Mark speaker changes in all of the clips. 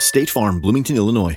Speaker 1: State Farm, Bloomington, Illinois.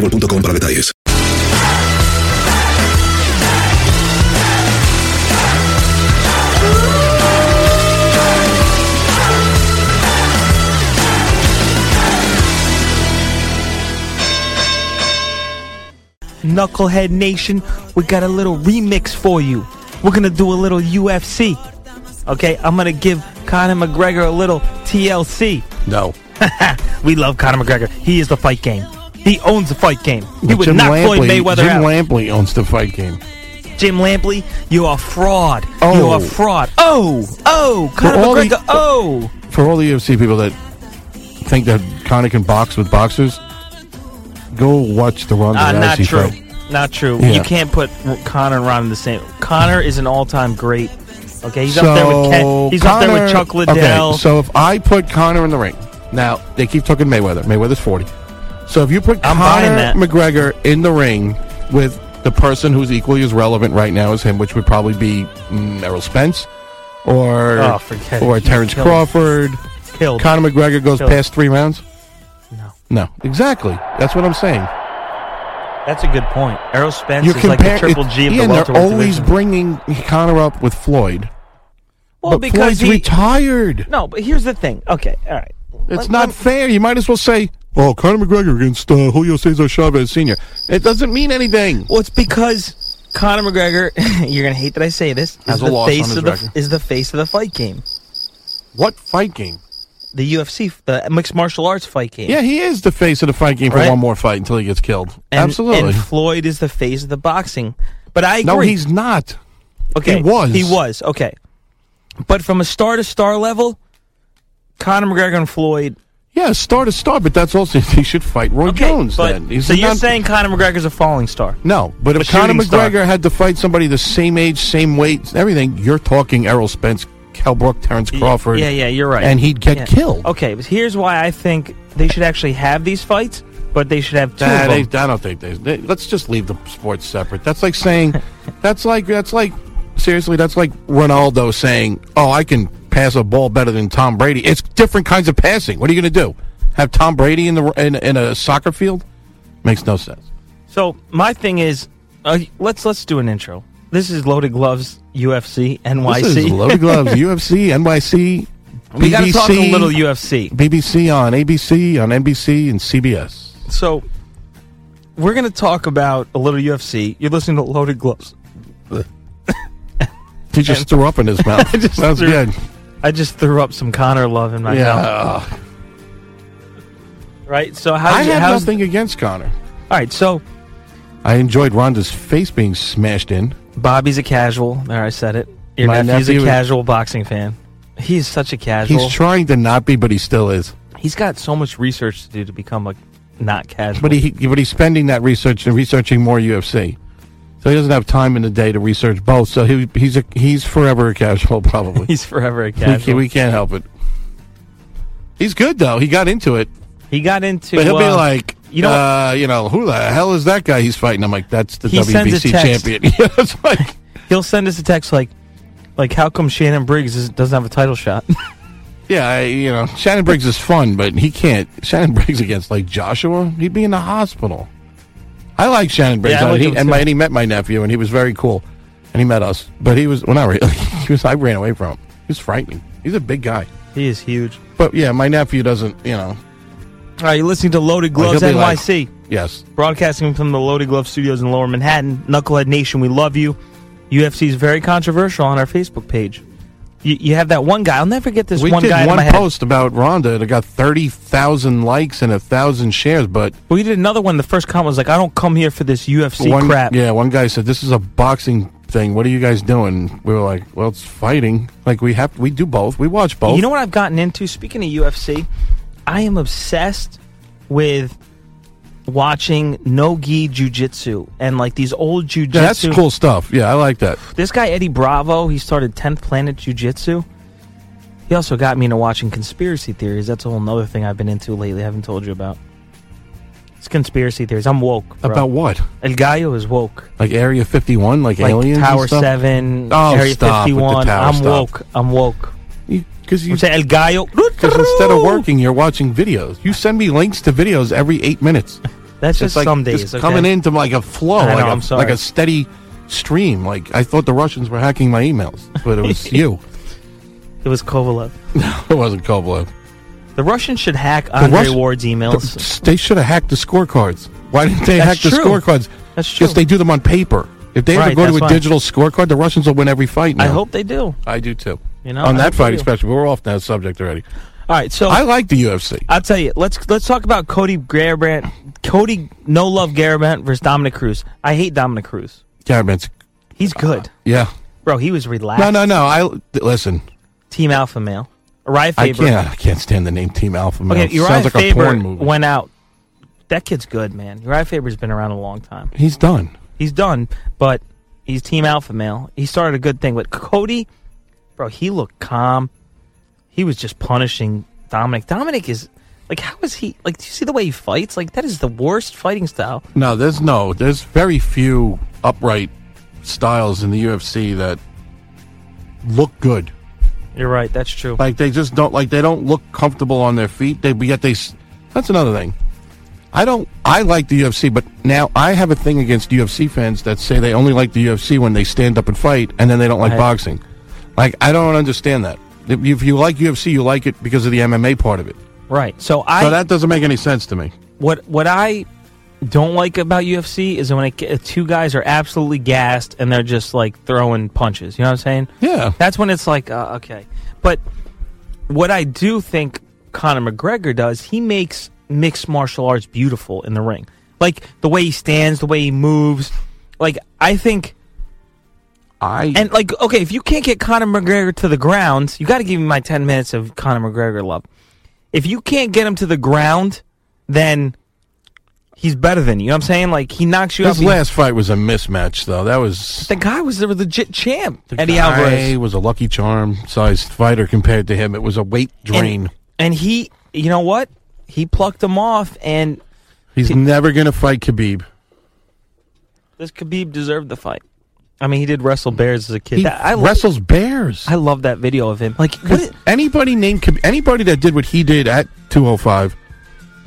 Speaker 2: para detalles.
Speaker 3: Knucklehead Nation, we got a little remix for you. We're gonna do a little UFC. Okay, I'm gonna give Conor McGregor a little TLC.
Speaker 4: No.
Speaker 3: we love Conor McGregor. He is the fight game. He owns the fight game. He
Speaker 4: But
Speaker 3: would knock Floyd Mayweather
Speaker 4: Jim
Speaker 3: out.
Speaker 4: Lampley owns the fight game.
Speaker 3: Jim Lampley, you are fraud. You
Speaker 4: Oh.
Speaker 3: are fraud. Oh, oh, Conor
Speaker 4: all the-
Speaker 3: McGregor. oh,
Speaker 4: For all the UFC people that think that Conor can box with boxers, go watch the Ronda
Speaker 3: Ah,
Speaker 4: Rousey
Speaker 3: not true.
Speaker 4: fight.
Speaker 3: Not true.
Speaker 4: Yeah.
Speaker 3: You can't put Connor and Ron in the same. Connor is an all-time great. Okay, he's up there with
Speaker 4: So,
Speaker 3: Ken. He's up there with
Speaker 4: Conor-
Speaker 3: Chuck Liddell.
Speaker 4: Okay, so if I put Connor in the ring, now they keep talking Mayweather. Mayweather's 40. So if you put
Speaker 3: I'm buying
Speaker 4: Conor
Speaker 3: that.
Speaker 4: McGregor in the ring with the person who's equally as relevant right now as him, which would probably be mm, Errol Spence or
Speaker 3: Oh, forget it.
Speaker 4: or
Speaker 3: He's
Speaker 4: Terrence
Speaker 3: killed.
Speaker 4: Crawford,
Speaker 3: Killed.
Speaker 4: Conor McGregor goes
Speaker 3: Killed.
Speaker 4: past three rounds?
Speaker 3: No.
Speaker 4: No, exactly. That's what I'm saying.
Speaker 3: That's a good point. Errol Spence
Speaker 4: You're
Speaker 3: is like the
Speaker 4: comparing.
Speaker 3: triple G of
Speaker 4: yeah,
Speaker 3: the
Speaker 4: and
Speaker 3: welterweight
Speaker 4: they're always
Speaker 3: division.
Speaker 4: bringing Conor up with Floyd.
Speaker 3: well,
Speaker 4: but
Speaker 3: because
Speaker 4: Floyd's
Speaker 3: he,
Speaker 4: retired.
Speaker 3: no, but here's the thing. Okay, all right.
Speaker 4: It's
Speaker 3: Let-
Speaker 4: not
Speaker 3: let-
Speaker 4: fair. You might as well say, "Oh, Conor McGregor against uh, Julio Cesar Chavez Sr." It doesn't mean anything.
Speaker 3: Well, it's because Conor McGregor. you're gonna hate that I say this.
Speaker 4: Has
Speaker 3: Is
Speaker 4: a
Speaker 3: the
Speaker 4: loss on
Speaker 3: face
Speaker 4: his
Speaker 3: of the
Speaker 4: record.
Speaker 3: is the face of the fight game,
Speaker 4: What fight game?
Speaker 3: the UFC, the mixed martial arts fight game.
Speaker 4: Yeah, he is the face of the fight game for
Speaker 3: Right.
Speaker 4: one more fight until he gets killed.
Speaker 3: and,
Speaker 4: Absolutely.
Speaker 3: And Floyd is the face of the boxing. But I agree.
Speaker 4: no, he's not.
Speaker 3: Okay,
Speaker 4: He was.
Speaker 3: He was. Okay, but from a star to star level, Conor McGregor and Floyd.
Speaker 4: Yeah, star to star, but that's also he should fight Roy
Speaker 3: Okay,
Speaker 4: Jones.
Speaker 3: but-
Speaker 4: then He's
Speaker 3: so you're
Speaker 4: not-
Speaker 3: saying Conor McGregor's a falling star?
Speaker 4: no? But if
Speaker 3: a
Speaker 4: Conor
Speaker 3: shooting star.
Speaker 4: McGregor had to fight somebody the same age, same weight, everything, you're talking Errol Spence, Cal Brook, Terrence Crawford.
Speaker 3: Yeah, yeah, you're right.
Speaker 4: And he'd get
Speaker 3: Yeah.
Speaker 4: killed.
Speaker 3: Okay, but here's why I think they should actually have these fights, but they should have two.
Speaker 4: Nah,
Speaker 3: of
Speaker 4: they,
Speaker 3: them.
Speaker 4: I don't think they, they- Let's just leave the sports separate. That's like saying, that's like that's like seriously, that's like Ronaldo saying, "Oh, I can pass a ball better than Tom Brady." It's different kinds of passing. What are you going to do? Have Tom Brady in the in, in a soccer field? Makes no sense.
Speaker 3: So my thing is, uh, let's let's do an intro. This is Loaded Gloves UFC NYC.
Speaker 4: This is loaded gloves. UFC, NYC,
Speaker 3: we got to talk a
Speaker 4: BBC,
Speaker 3: little UFC.
Speaker 4: BBC on ABC on NBC and CBS.
Speaker 3: So we're going to talk about a little UFC. You're listening to Loaded Gloves.
Speaker 4: He just threw up in his mouth.
Speaker 3: just
Speaker 4: Sounds
Speaker 3: threw-
Speaker 4: good.
Speaker 3: I just threw up some Connor love in my mouth.
Speaker 4: Yeah.
Speaker 3: right? So how
Speaker 4: I
Speaker 3: did you,
Speaker 4: have
Speaker 3: how's
Speaker 4: nothing against Connor.
Speaker 3: All right, so
Speaker 4: I enjoyed Ronda's face being smashed in.
Speaker 3: Bobby's a casual. There, I said it. Your
Speaker 4: My
Speaker 3: nephew's
Speaker 4: nephew
Speaker 3: a
Speaker 4: is-
Speaker 3: casual boxing fan. He's such a casual.
Speaker 4: He's trying to not be, but he still is.
Speaker 3: He's got so much research to do to become a not casual.
Speaker 4: But he, but he's spending that research and researching more UFC. So he doesn't have time in the day to research both. So he, he's a, he's forever a casual, probably.
Speaker 3: he's forever a
Speaker 4: we, can,
Speaker 3: casual.
Speaker 4: we can't help it. He's good though. He got into it,
Speaker 3: he got into.
Speaker 4: but he'll be
Speaker 3: uh,
Speaker 4: like,
Speaker 3: you
Speaker 4: you
Speaker 3: know-
Speaker 4: know, uh, you know, who the hell is that guy he's fighting? I'm like, that's the
Speaker 3: He sends a
Speaker 4: WBC
Speaker 3: text.
Speaker 4: champion. Yeah, it's like,
Speaker 3: he'll send us a text like, like how come Shannon Briggs is, doesn't have a title shot?
Speaker 4: yeah, I, you know, Shannon Briggs is fun, but he can't. Shannon Briggs against like Joshua, he'd be in the hospital. I like Shannon Briggs,
Speaker 3: Yeah, I
Speaker 4: and
Speaker 3: like
Speaker 4: he-
Speaker 3: him,
Speaker 4: and, my,
Speaker 3: too.
Speaker 4: and he met my nephew, and he was very cool, and he met us, but he was well, not really. he was. I ran away from him. He was frightening. He's a big guy,
Speaker 3: he is huge.
Speaker 4: but yeah, my nephew doesn't. You know,
Speaker 3: All right, you're listening to Loaded
Speaker 4: Like,
Speaker 3: Gloves
Speaker 4: Oh, he'll be like-
Speaker 3: NYC,
Speaker 4: yes,
Speaker 3: broadcasting from the Loaded Glove Studios in Lower Manhattan. Knucklehead Nation, we love you. UFC is very controversial on our Facebook page. You, you have that one guy. I'll never get this
Speaker 4: we
Speaker 3: one
Speaker 4: did
Speaker 3: guy. out of
Speaker 4: one
Speaker 3: my head.
Speaker 4: post about Rhonda that got thirty thousand likes and a thousand shares, but
Speaker 3: We did another one. The first comment was like, "I don't come here for this UFC
Speaker 4: one
Speaker 3: crap."
Speaker 4: yeah, one guy said this is a boxing thing. What are you guys doing? We were like, well, it's fighting. Like we have, we do both. We watch both.
Speaker 3: You know what I've gotten into? Speaking of UFC, I am obsessed with watching no gi jujitsu and like these old jujitsu.
Speaker 4: Yeah, that's cool stuff. Yeah, I like that.
Speaker 3: This guy Eddie Bravo, he started Tenth Planet Jujitsu. He also got me into watching conspiracy theories. That's a whole nother thing I've been into lately. I haven't told you about. It's conspiracy theories. I'm woke. Bro.
Speaker 4: About what?
Speaker 3: El Gallo is woke.
Speaker 4: Like Area Fifty One, like,
Speaker 3: Like
Speaker 4: aliens,
Speaker 3: Tower
Speaker 4: and stuff?
Speaker 3: Seven,
Speaker 4: Oh,
Speaker 3: Area
Speaker 4: stop
Speaker 3: Fifty
Speaker 4: with the
Speaker 3: One.
Speaker 4: tower
Speaker 3: I'm
Speaker 4: stuff.
Speaker 3: woke. I'm woke.
Speaker 4: Because you,
Speaker 3: I'm saying El Gallo.
Speaker 4: 'cause instead of working, you're watching videos. You send me links to videos every eight minutes.
Speaker 3: That's just
Speaker 4: it's like
Speaker 3: some
Speaker 4: it's
Speaker 3: days. okay?
Speaker 4: coming into like a flow,
Speaker 3: I know,
Speaker 4: like, a,
Speaker 3: I'm sorry.
Speaker 4: like a steady stream. Like I thought the Russians were hacking my emails, but it was you.
Speaker 3: It was Kovalev.
Speaker 4: It wasn't Kovalev.
Speaker 3: The Russians should hack Andre
Speaker 4: Russ-
Speaker 3: Ward's emails.
Speaker 4: They should have hacked the scorecards. Why didn't they
Speaker 3: That's
Speaker 4: hack the
Speaker 3: true.
Speaker 4: scorecards?
Speaker 3: That's true.
Speaker 4: Because they do them on paper. If they
Speaker 3: Right,
Speaker 4: ever go
Speaker 3: that's
Speaker 4: to a
Speaker 3: why.
Speaker 4: digital scorecard, the Russians will win every fight. Now.
Speaker 3: I hope they do.
Speaker 4: I do too.
Speaker 3: You know,
Speaker 4: on
Speaker 3: I hope
Speaker 4: that
Speaker 3: they
Speaker 4: fight
Speaker 3: do. Oh.
Speaker 4: especially, we're off that subject already.
Speaker 3: All right, so
Speaker 4: I
Speaker 3: I,
Speaker 4: like the UFC.
Speaker 3: will tell you. Let's let's talk about Cody Garbrandt. Cody No Love Garbrandt versus Dominic Cruz. I hate Dominic Cruz.
Speaker 4: Garabin's,
Speaker 3: He's good,
Speaker 4: yeah.
Speaker 3: bro. He was relaxed.
Speaker 4: Uh-huh. No, no, no. I th- listen.
Speaker 3: Team Alpha Male. Uriah
Speaker 4: I
Speaker 3: Faber.
Speaker 4: can't. I can't stand the name Team Alpha. Male.
Speaker 3: Okay,
Speaker 4: It
Speaker 3: Uriah
Speaker 4: sounds like
Speaker 3: Faber
Speaker 4: a porn movie.
Speaker 3: went out. That kid's good, man. Uriah Faber's been around a long time.
Speaker 4: He's done.
Speaker 3: He's done, but he's team alpha male. He started a good thing, but Cody, bro, he looked calm. He was just punishing Dominic. Dominic is like, how is he? Like, do you see the way he fights? Like, that is the worst fighting style.
Speaker 4: No, there's no. There's very few upright styles in the UFC that look good.
Speaker 3: You're right. That's true.
Speaker 4: Like they just don't like they don't look comfortable on their feet. They but yet they. s- That's another thing. I don't. I like the UFC, but now I have a thing against UFC fans that say they only like the UFC when they stand up and fight, and then they don't like
Speaker 3: Right.
Speaker 4: boxing. Like I don't understand that. If you- if you like UFC, you like it because of the MMA part of it.
Speaker 3: Right. So I
Speaker 4: So that doesn't make any sense to me.
Speaker 3: what what I don't like about UFC is when it, uh, two guys are absolutely gassed and they're just like throwing punches. You know what I'm saying?
Speaker 4: Yeah.
Speaker 3: That's when it's like, uh, okay. But what I do think Conor McGregor does, he makes mixed martial arts beautiful in the ring. Like the way he stands, the way he moves. Like I think,
Speaker 4: I
Speaker 3: and like okay, if you can't get Conor McGregor to the ground, you got to give me my ten minutes of Conor McGregor love. If you can't get him to the ground, then he's better than you. You know what I'm saying? Like he knocks you out.
Speaker 4: His last fight was a mismatch, though. That was
Speaker 3: the guy was the legit champ, Eddie
Speaker 4: guy
Speaker 3: Alvarez.
Speaker 4: was a lucky charm sized fighter compared to him. It was a weight drain.
Speaker 3: And, and he, you know what? He plucked him off, and
Speaker 4: He's never going to fight Khabib.
Speaker 3: this Khabib deserved the fight. I mean, he did wrestle bears as a kid.
Speaker 4: He
Speaker 3: That- I,
Speaker 4: wrestles bears.
Speaker 3: I love that video of him. Like what? i-
Speaker 4: anybody named Khabib, anybody that did what he did at 205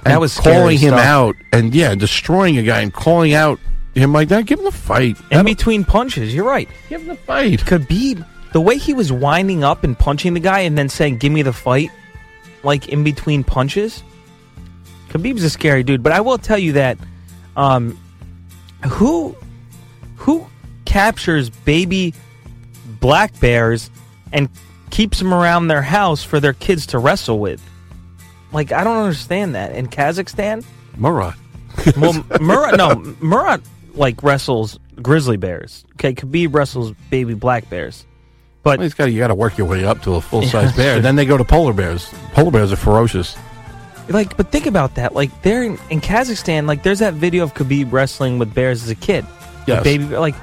Speaker 4: and
Speaker 3: That was scary
Speaker 4: calling him
Speaker 3: stuff.
Speaker 4: out and yeah, destroying a guy and calling out him like that. Give him the fight.
Speaker 3: in
Speaker 4: That'll-
Speaker 3: between punches, you're right.
Speaker 4: give him the fight.
Speaker 3: Khabib, the way he was winding up and punching the guy, and then saying "Give me the fight," like in between punches. Khabib's a scary dude, but I will tell you that, um, who, who captures baby black bears and keeps them around their house for their kids to wrestle with? Like I don't understand that in Kazakhstan.
Speaker 4: Murat.
Speaker 3: Well, Murat, no, Murat like wrestles grizzly bears. Okay, Khabib wrestles baby black bears. But
Speaker 4: Well, it's got you got to work your way up to a full size bear. Then they go to polar bears. Polar bears are ferocious.
Speaker 3: Like, but think about that. Like, there in, in Kazakhstan, like, there's that video of Khabib wrestling with bears as a kid. The
Speaker 4: Yes.
Speaker 3: baby, bear- like,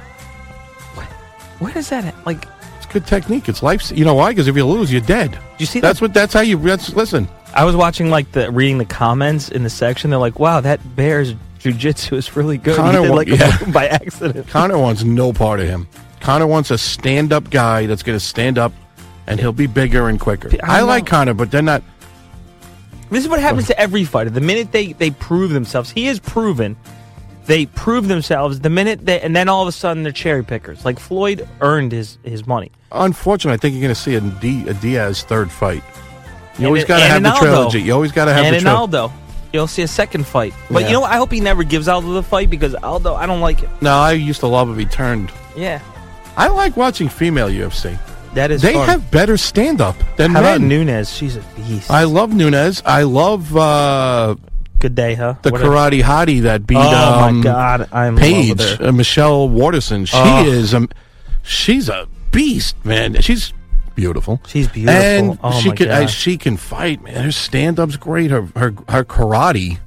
Speaker 3: wh- where does that, at? like,
Speaker 4: It's good technique. It's life. You know why? Because if you lose, you're dead.
Speaker 3: you see
Speaker 4: That's
Speaker 3: that?
Speaker 4: what. That's how you. That's listen.
Speaker 3: I was watching, like, the reading the comments in the section. They're like, wow, that bear's jujitsu is really good. He
Speaker 4: Conor
Speaker 3: did,
Speaker 4: wa-
Speaker 3: like,
Speaker 4: yeah.
Speaker 3: a, by accident.
Speaker 4: Connor wants no part of him. Connor wants a stand up guy that's going to stand up, and he'll be bigger and quicker.
Speaker 3: I
Speaker 4: I,
Speaker 3: know.
Speaker 4: like Connor, but they're not.
Speaker 3: This is what happens to every fighter. The minute they, they prove themselves, he is proven. They prove themselves the minute they, and then all of a sudden they're cherry pickers. Like Floyd earned his his money.
Speaker 4: Unfortunately, I think you're going to see a, D, a Diaz third fight. You
Speaker 3: And-
Speaker 4: always got to
Speaker 3: and
Speaker 4: have the
Speaker 3: Ronaldo.
Speaker 4: trilogy. You always got to have
Speaker 3: and
Speaker 4: the
Speaker 3: in
Speaker 4: trilogy.
Speaker 3: Aldo. You'll see a second fight. But you
Speaker 4: Yeah.
Speaker 3: know what? I hope he never gives Aldo the fight because Aldo, I don't like it.
Speaker 4: No, I used to love if he turned.
Speaker 3: Yeah.
Speaker 4: I like watching female UFC.
Speaker 3: That is
Speaker 4: They
Speaker 3: fun.
Speaker 4: have better stand up than
Speaker 3: How
Speaker 4: men.
Speaker 3: about Nunez? She's a beast.
Speaker 4: I love Nunez. I love uh,
Speaker 3: Good day, huh?
Speaker 4: the
Speaker 3: Whatever.
Speaker 4: karate hottie that beat.
Speaker 3: Oh
Speaker 4: um,
Speaker 3: my god, I'm in love
Speaker 4: Paige,
Speaker 3: with her.
Speaker 4: uh, Michelle Waterson. She
Speaker 3: Oh.
Speaker 4: is um, she's a beast, man. She's beautiful.
Speaker 3: She's beautiful.
Speaker 4: And
Speaker 3: Oh
Speaker 4: she
Speaker 3: my
Speaker 4: can
Speaker 3: God.
Speaker 4: uh, she can fight, man. Her stand up's great. Her her her karate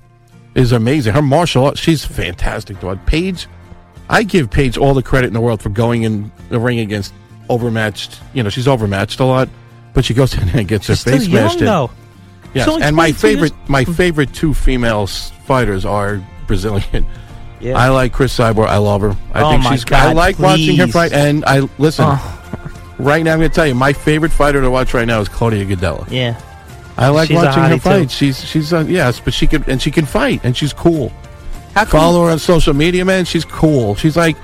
Speaker 4: is amazing. Her martial arts, she's fantastic. To watch. Paige, I give Paige all the credit in the world for going in the ring against overmatched. You know, she's overmatched a lot, but she goes in there and gets
Speaker 3: She's
Speaker 4: her
Speaker 3: still
Speaker 4: face
Speaker 3: young
Speaker 4: smashed. in.
Speaker 3: though.
Speaker 4: Yes,
Speaker 3: She's only
Speaker 4: and my
Speaker 3: 22 years-
Speaker 4: favorite my favorite two female s- fighters are Brazilian.
Speaker 3: Yeah.
Speaker 4: I like Chris Cyborg. I love her. I
Speaker 3: Oh
Speaker 4: think
Speaker 3: my
Speaker 4: she's.
Speaker 3: God,
Speaker 4: I like watching her
Speaker 3: please.
Speaker 4: fight. And I listen.
Speaker 3: Oh.
Speaker 4: Right now, I'm going to tell you my favorite fighter to watch right now is Claudia Gadella.
Speaker 3: yeah.
Speaker 4: I like
Speaker 3: She's a
Speaker 4: watching
Speaker 3: hottie,
Speaker 4: her
Speaker 3: too.
Speaker 4: fight. She's she's uh, yes, but she can and she can fight and she's cool.
Speaker 3: How come
Speaker 4: Follow her on social media, man. She's cool. She's like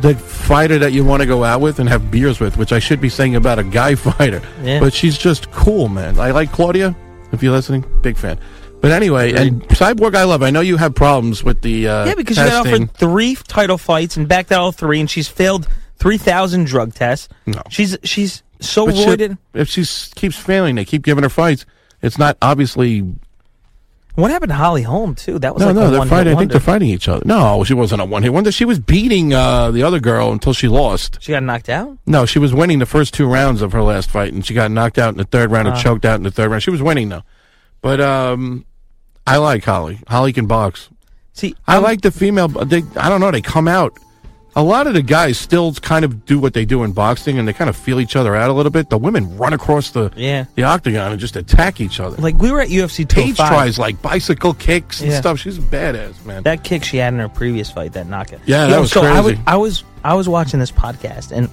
Speaker 4: the fighter that you want to go out with and have beers with, which I should be saying about a guy fighter.
Speaker 3: Yeah.
Speaker 4: But she's just cool, man. I like Claudia. If you're listening, big fan. But anyway, and Cyborg, I love. I know you have problems with the uh,
Speaker 3: Yeah, because she got
Speaker 4: testing.
Speaker 3: offered three title fights and backed out all three, and she's failed three thousand drug tests.
Speaker 4: No.
Speaker 3: She's she's so
Speaker 4: But shit,
Speaker 3: roided.
Speaker 4: if she s- keeps failing, they keep giving her fights. It's not obviously.
Speaker 3: What happened to Holly Holm too? That was
Speaker 4: No,
Speaker 3: like
Speaker 4: no,
Speaker 3: a
Speaker 4: they're
Speaker 3: one
Speaker 4: fighting. I think they're fighting each other. No, she wasn't a one hit wonder. She was beating uh, the other girl until she lost.
Speaker 3: She got knocked out.
Speaker 4: No, she was winning the first two rounds of her last fight, and she got knocked out in the third round and choked out in the third round. She was winning though, but um, I like Holly. Holly can box.
Speaker 3: See,
Speaker 4: I
Speaker 3: I'm-
Speaker 4: like the female. They, I don't know. They come out. A lot of the guys still kind of do what they do in boxing, and they kind of feel each other out a little bit. The women run across the
Speaker 3: Yeah.
Speaker 4: the octagon and just attack each other.
Speaker 3: like we were at UFC two
Speaker 4: Paige tries like bicycle kicks and
Speaker 3: Yeah.
Speaker 4: stuff. She's a badass, man.
Speaker 3: That kick she had in her previous fight, that knockout.
Speaker 4: Yeah,
Speaker 3: You
Speaker 4: that
Speaker 3: know,
Speaker 4: was
Speaker 3: so I was,
Speaker 4: crazy.
Speaker 3: I was I was watching this podcast and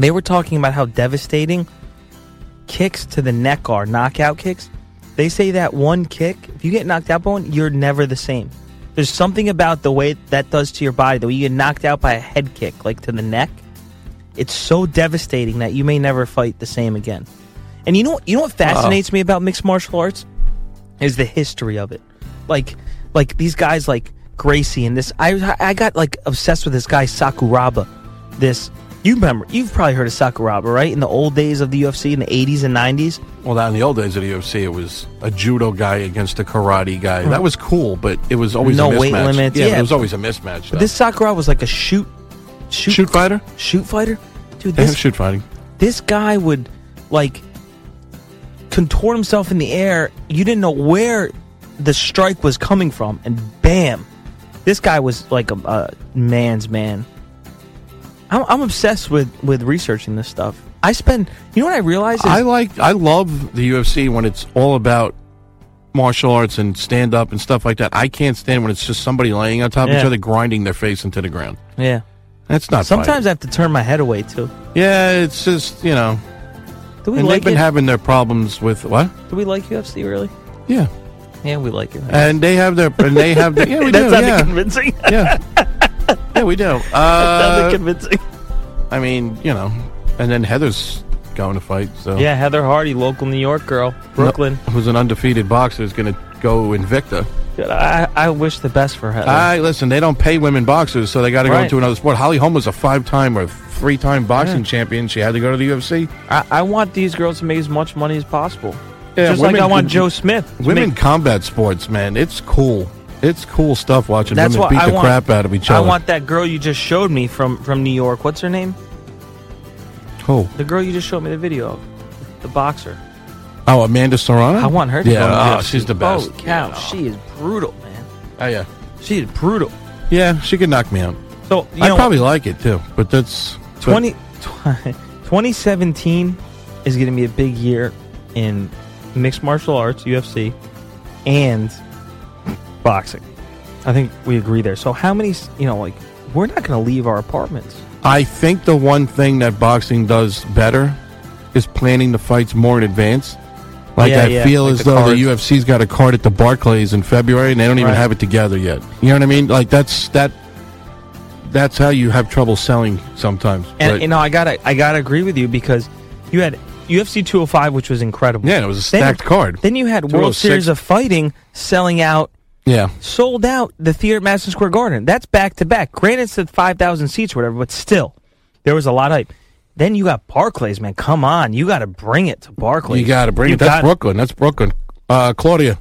Speaker 3: they were talking about how devastating kicks to the neck are, knockout kicks. They say that one kick, if you get knocked out by one, you're never the same. There's something about the way that does to your body, the way you get knocked out by a head kick, like to the neck. It's so devastating that you may never fight the same again. And you know, you know what fascinates me about mixed martial arts is the history of it. Like, like these guys like Gracie and this. I I got like obsessed with this guy Sakuraba. This you remember? You've probably heard of Sakuraba, right? In the old days of the UFC, in the '80s and '90s.
Speaker 4: well, that in the old days of the UFC, it was a judo guy against a karate guy. That was cool, but it was always
Speaker 3: No
Speaker 4: a mismatch.
Speaker 3: weight limits,
Speaker 4: Yeah, but
Speaker 3: yeah.
Speaker 4: it was always a mismatch.
Speaker 3: But
Speaker 4: though.
Speaker 3: this Sakuraba was like a shoot, shoot,
Speaker 4: shoot fighter,
Speaker 3: shoot fighter. Dude,
Speaker 4: they
Speaker 3: this
Speaker 4: have shoot fighting.
Speaker 3: this guy would like contort himself in the air. You didn't know where the strike was coming from, and bam, this guy was like a, a man's man. I'm, I'm obsessed with with researching this stuff. I spend, you know what I realize is
Speaker 4: I like I love the UFC when it's all about martial arts and stand up and stuff like that. I can't stand when it's just somebody laying on top of each
Speaker 3: Yeah.
Speaker 4: other grinding their face into the ground.
Speaker 3: yeah.
Speaker 4: That's not
Speaker 3: Sometimes I have to turn my head away too.
Speaker 4: fighting. yeah, it's just you know,
Speaker 3: Do we
Speaker 4: and
Speaker 3: like
Speaker 4: they've been
Speaker 3: it?
Speaker 4: having their problems with what?
Speaker 3: Do we like UFC really?
Speaker 4: Yeah,
Speaker 3: Yeah, we like it.
Speaker 4: and they have their and they have their yeah Uh, we
Speaker 3: that
Speaker 4: do
Speaker 3: sounded
Speaker 4: yeah
Speaker 3: convincing.
Speaker 4: yeah yeah we do.
Speaker 3: that
Speaker 4: Uh,
Speaker 3: sounded convincing.
Speaker 4: I mean you know, and then Heather's going to fight so
Speaker 3: Yeah, Heather Hardy, local New York girl, Brooklyn.
Speaker 4: who's an undefeated boxer, is going to go Invicta.
Speaker 3: Dude, I, I wish the best for Heather.
Speaker 4: I listen. They don't pay women boxers, so they got to
Speaker 3: Uh. Right.
Speaker 4: go into another sport. Holly Holm was a five-time or three-time boxing champion. She had to go to the UFC.
Speaker 3: I, I want these girls to make as much money as possible.
Speaker 4: Yeah,
Speaker 3: Just like
Speaker 4: women-
Speaker 3: I want Joe Smith. to
Speaker 4: Women
Speaker 3: make-
Speaker 4: combat sports, man, it's cool. It's cool stuff watching
Speaker 3: that's
Speaker 4: women
Speaker 3: what
Speaker 4: beat
Speaker 3: I
Speaker 4: the
Speaker 3: want.
Speaker 4: crap out of each
Speaker 3: I
Speaker 4: other.
Speaker 3: want that girl you just showed me from from New York. What's her name?
Speaker 4: oh,
Speaker 3: The girl you just showed me the video of, the boxer.
Speaker 4: oh, Amanda Serrano.
Speaker 3: I want her to go. to
Speaker 4: Yeah, oh,
Speaker 3: UFC.
Speaker 4: she's the best.
Speaker 3: Holy cow, she is brutal, man.
Speaker 4: Oh yeah,
Speaker 3: She is brutal.
Speaker 4: yeah, she could knock me out.
Speaker 3: So you
Speaker 4: I
Speaker 3: know,
Speaker 4: probably like it too, but that's but
Speaker 3: 20, 2017 is going to be a big year in mixed martial arts, UFC, and boxing. I think we agree there. So how many? s- You know, like we're not going to leave our apartments.
Speaker 4: I think the one thing that boxing does better is planning the fights more in advance. Like
Speaker 3: Yeah,
Speaker 4: I
Speaker 3: yeah,
Speaker 4: feel
Speaker 3: like
Speaker 4: as
Speaker 3: the
Speaker 4: though
Speaker 3: cards.
Speaker 4: the UFC's got a card at the Barclays in February, and they don't even
Speaker 3: Right.
Speaker 4: have it together yet. You know what I mean? Like that's that. That's how you have trouble selling sometimes.
Speaker 3: And
Speaker 4: but-
Speaker 3: you know, I gotta, I gotta agree with you because you had UFC 205, which was incredible.
Speaker 4: yeah, it was a
Speaker 3: Then-
Speaker 4: stacked card.
Speaker 3: Then you had World
Speaker 4: 206.
Speaker 3: Series of Fighting selling out
Speaker 4: yeah,
Speaker 3: sold out the theater at Madison Square Garden. That's back to back. Granted, it's at 5,000 seats or whatever, but still, there was a lot of hype. Then you got Barclays, man. Come on. You got to bring it to Barclays.
Speaker 4: you got to bring
Speaker 3: You
Speaker 4: it. That's
Speaker 3: got-
Speaker 4: Brooklyn. That's Brooklyn. Uh, Claudia,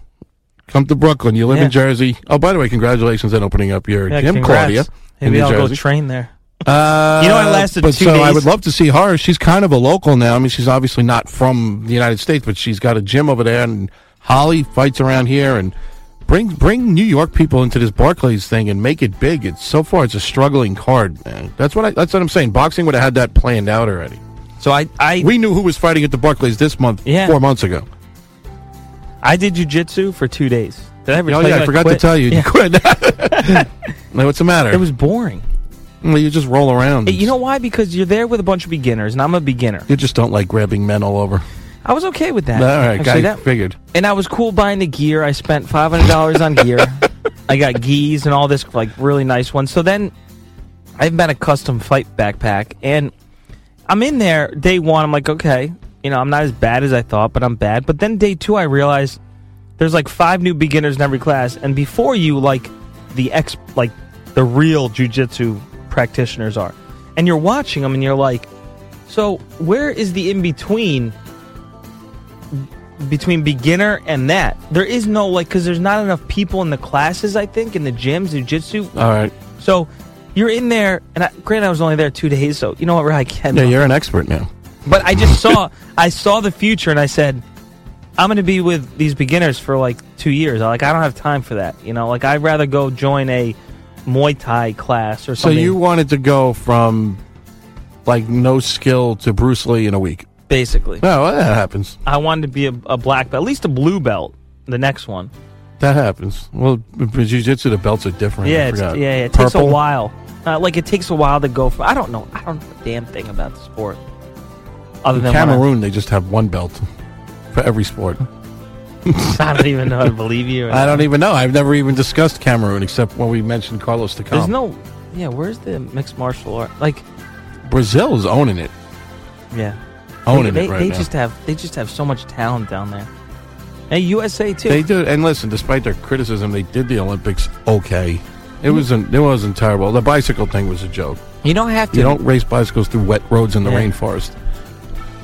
Speaker 4: come to Brooklyn. You live
Speaker 3: Yeah.
Speaker 4: in Jersey. Oh, by the way, congratulations on opening up your
Speaker 3: Yeah,
Speaker 4: gym,
Speaker 3: congrats.
Speaker 4: Claudia. in
Speaker 3: Maybe
Speaker 4: New
Speaker 3: I'll go
Speaker 4: Jersey.
Speaker 3: train there.
Speaker 4: Uh,
Speaker 3: You know, I lasted
Speaker 4: but
Speaker 3: two
Speaker 4: so I
Speaker 3: days.
Speaker 4: would love to see her. She's kind of a local now. I mean, she's obviously not from the United States, but she's got a gym over there, and Holly fights around here. And bring bring New York people into this Barclays thing and make it big. It's so far it's a struggling card, man. That's what I, that's what I'm saying. Boxing would have had that planned out already.
Speaker 3: So I, I,
Speaker 4: We knew who was fighting at the Barclays this month,
Speaker 3: Yeah.
Speaker 4: four months ago.
Speaker 3: I did jujitsu for two days. Did I ever
Speaker 4: Oh
Speaker 3: tell
Speaker 4: yeah,
Speaker 3: you
Speaker 4: I forgot to
Speaker 3: quit?
Speaker 4: tell you,
Speaker 3: Yeah.
Speaker 4: you quit. Now, What's the matter?
Speaker 3: It was boring.
Speaker 4: Well, you just roll around.
Speaker 3: You know why? Because you're there with a bunch of beginners, and I'm a beginner.
Speaker 4: you just don't like grabbing men all over.
Speaker 3: I was okay with that.
Speaker 4: All right,
Speaker 3: Actually,
Speaker 4: guy
Speaker 3: that-
Speaker 4: figured.
Speaker 3: and I was cool buying the gear. I spent five hundred dollars on gear. I got geese and all this like really nice ones. So then I've got a custom fight backpack, and I'm in there day one. I'm like, okay, you know, I'm not as bad as I thought, but I'm bad. But then day two, I realized there's like five new beginners in every class, and before you, like the ex, like the real jujitsu practitioners are, and you're watching them, and you're like, so where is the in between? between beginner and that. There is no like because there's not enough people in the classes. I think in the gyms, jujitsu.
Speaker 4: All right.
Speaker 3: So you're in there, and I, granted, I was only there two days, so you know what, I can.
Speaker 4: Yeah, you're an expert now.
Speaker 3: But I just saw, I saw the future, and I said, I'm going to be with these beginners for like two years. I- Like I don't have time for that. You know, like I'd rather go join a Muay Thai class or
Speaker 4: So
Speaker 3: something.
Speaker 4: you wanted to go from like no skill to Bruce Lee in a week.
Speaker 3: basically,
Speaker 4: No, well, that happens.
Speaker 3: I wanted to be a, a black belt, at least a blue belt. The next one,
Speaker 4: That happens. Well, with jiu-jitsu, the belts are different. I
Speaker 3: yeah, it's, yeah,
Speaker 4: forgot.
Speaker 3: yeah, it takes a
Speaker 4: Purple?
Speaker 3: while. Uh, like it takes a while to go from. I don't know. I don't know a damn thing about the sport. Other
Speaker 4: In
Speaker 3: than what I-
Speaker 4: Cameroon, they just have one belt for every sport.
Speaker 3: I don't even know how to believe you. or
Speaker 4: I
Speaker 3: not.
Speaker 4: don't even know. I've never even discussed Cameroon except when we mentioned Carlos Takam.
Speaker 3: There's no. Yeah, where's the mixed martial art? Like,
Speaker 4: Brazil is owning it.
Speaker 3: yeah,
Speaker 4: Owning
Speaker 3: they,
Speaker 4: it right
Speaker 3: they
Speaker 4: now.
Speaker 3: just have they just have so much talent down there. Hey, USA too.
Speaker 4: They do, and listen. Despite their criticism, they did the Olympics okay. It wasn't. It wasn't terrible. The bicycle thing was a joke.
Speaker 3: you don't have to.
Speaker 4: You don't race bicycles through wet roads in the
Speaker 3: Yeah.
Speaker 4: rainforest.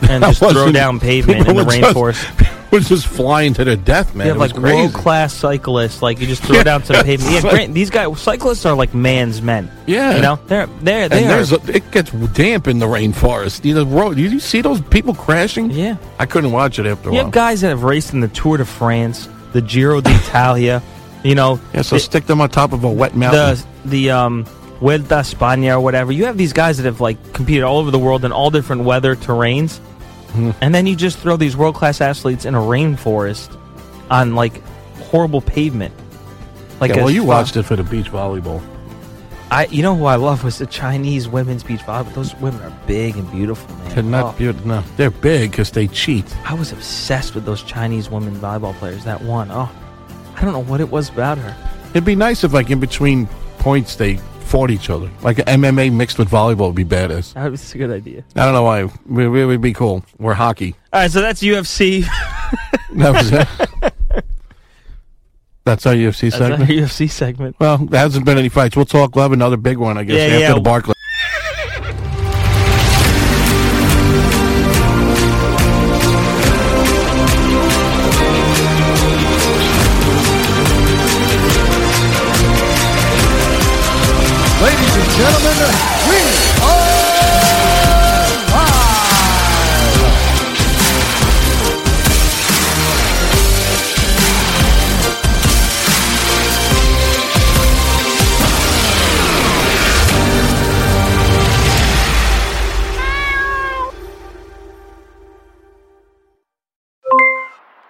Speaker 3: and just throw
Speaker 4: wasn't-
Speaker 3: down pavement in
Speaker 4: people
Speaker 3: the
Speaker 4: were just-
Speaker 3: rainforest.
Speaker 4: We're just flying to their death, man.
Speaker 3: you have
Speaker 4: It was
Speaker 3: like
Speaker 4: crazy.
Speaker 3: world class cyclists. Like you just throw
Speaker 4: Yeah,
Speaker 3: down some pavement. Yeah,
Speaker 4: it's like-
Speaker 3: grant, these guys cyclists are like man's men.
Speaker 4: Yeah.
Speaker 3: you know they're they're
Speaker 4: And
Speaker 3: they are.
Speaker 4: there's a, it gets damp in the rainforest. You know, road. You, you see those people crashing?
Speaker 3: Yeah.
Speaker 4: I couldn't watch it after a
Speaker 3: You
Speaker 4: while.
Speaker 3: have guys that have raced in the Tour de France, the Giro d'Italia, you know,
Speaker 4: yeah, so
Speaker 3: the,
Speaker 4: stick them on top of a wet mountain.
Speaker 3: the the um Vuelta a España or whatever. You have these guys that have like competed all over the world in all different weather terrains,
Speaker 4: Hmm.
Speaker 3: and then you just throw these world class athletes in a rainforest on like horrible pavement. Like
Speaker 4: yeah,
Speaker 3: a
Speaker 4: well, you
Speaker 3: fu-
Speaker 4: watched it for the beach volleyball.
Speaker 3: I you know who I love was the Chinese women's beach volleyball. Those women are big and beautiful, man.
Speaker 4: Could
Speaker 3: Oh,
Speaker 4: not be no. They're big because they cheat.
Speaker 3: I was obsessed with those Chinese women volleyball players. That one, oh, I don't know what it was about her.
Speaker 4: It'd be nice if, like, in between points, they fought each other. Like MMA mixed with volleyball would be badass.
Speaker 3: That was a good idea.
Speaker 4: I don't know why. We, we would be cool. We're hockey.
Speaker 3: All right, so that's UFC.
Speaker 4: That was it. That's our UFC
Speaker 3: That's our
Speaker 4: segment.
Speaker 3: UFC segment.
Speaker 4: Well, there hasn't been any fights. We'll talk love another big one, I guess,
Speaker 3: Yeah,
Speaker 4: after
Speaker 3: yeah.
Speaker 4: the Barclays.
Speaker 5: Ladies and gentlemen, we are live.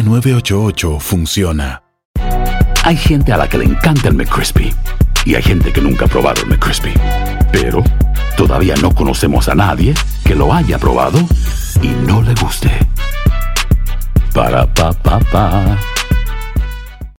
Speaker 6: 988 funciona.
Speaker 7: Hay gente a la que le encanta el McCrispy y hay gente que nunca ha probado el McCrispy. Pero todavía no conocemos a nadie que lo haya probado y no le guste. Para pa pa pa.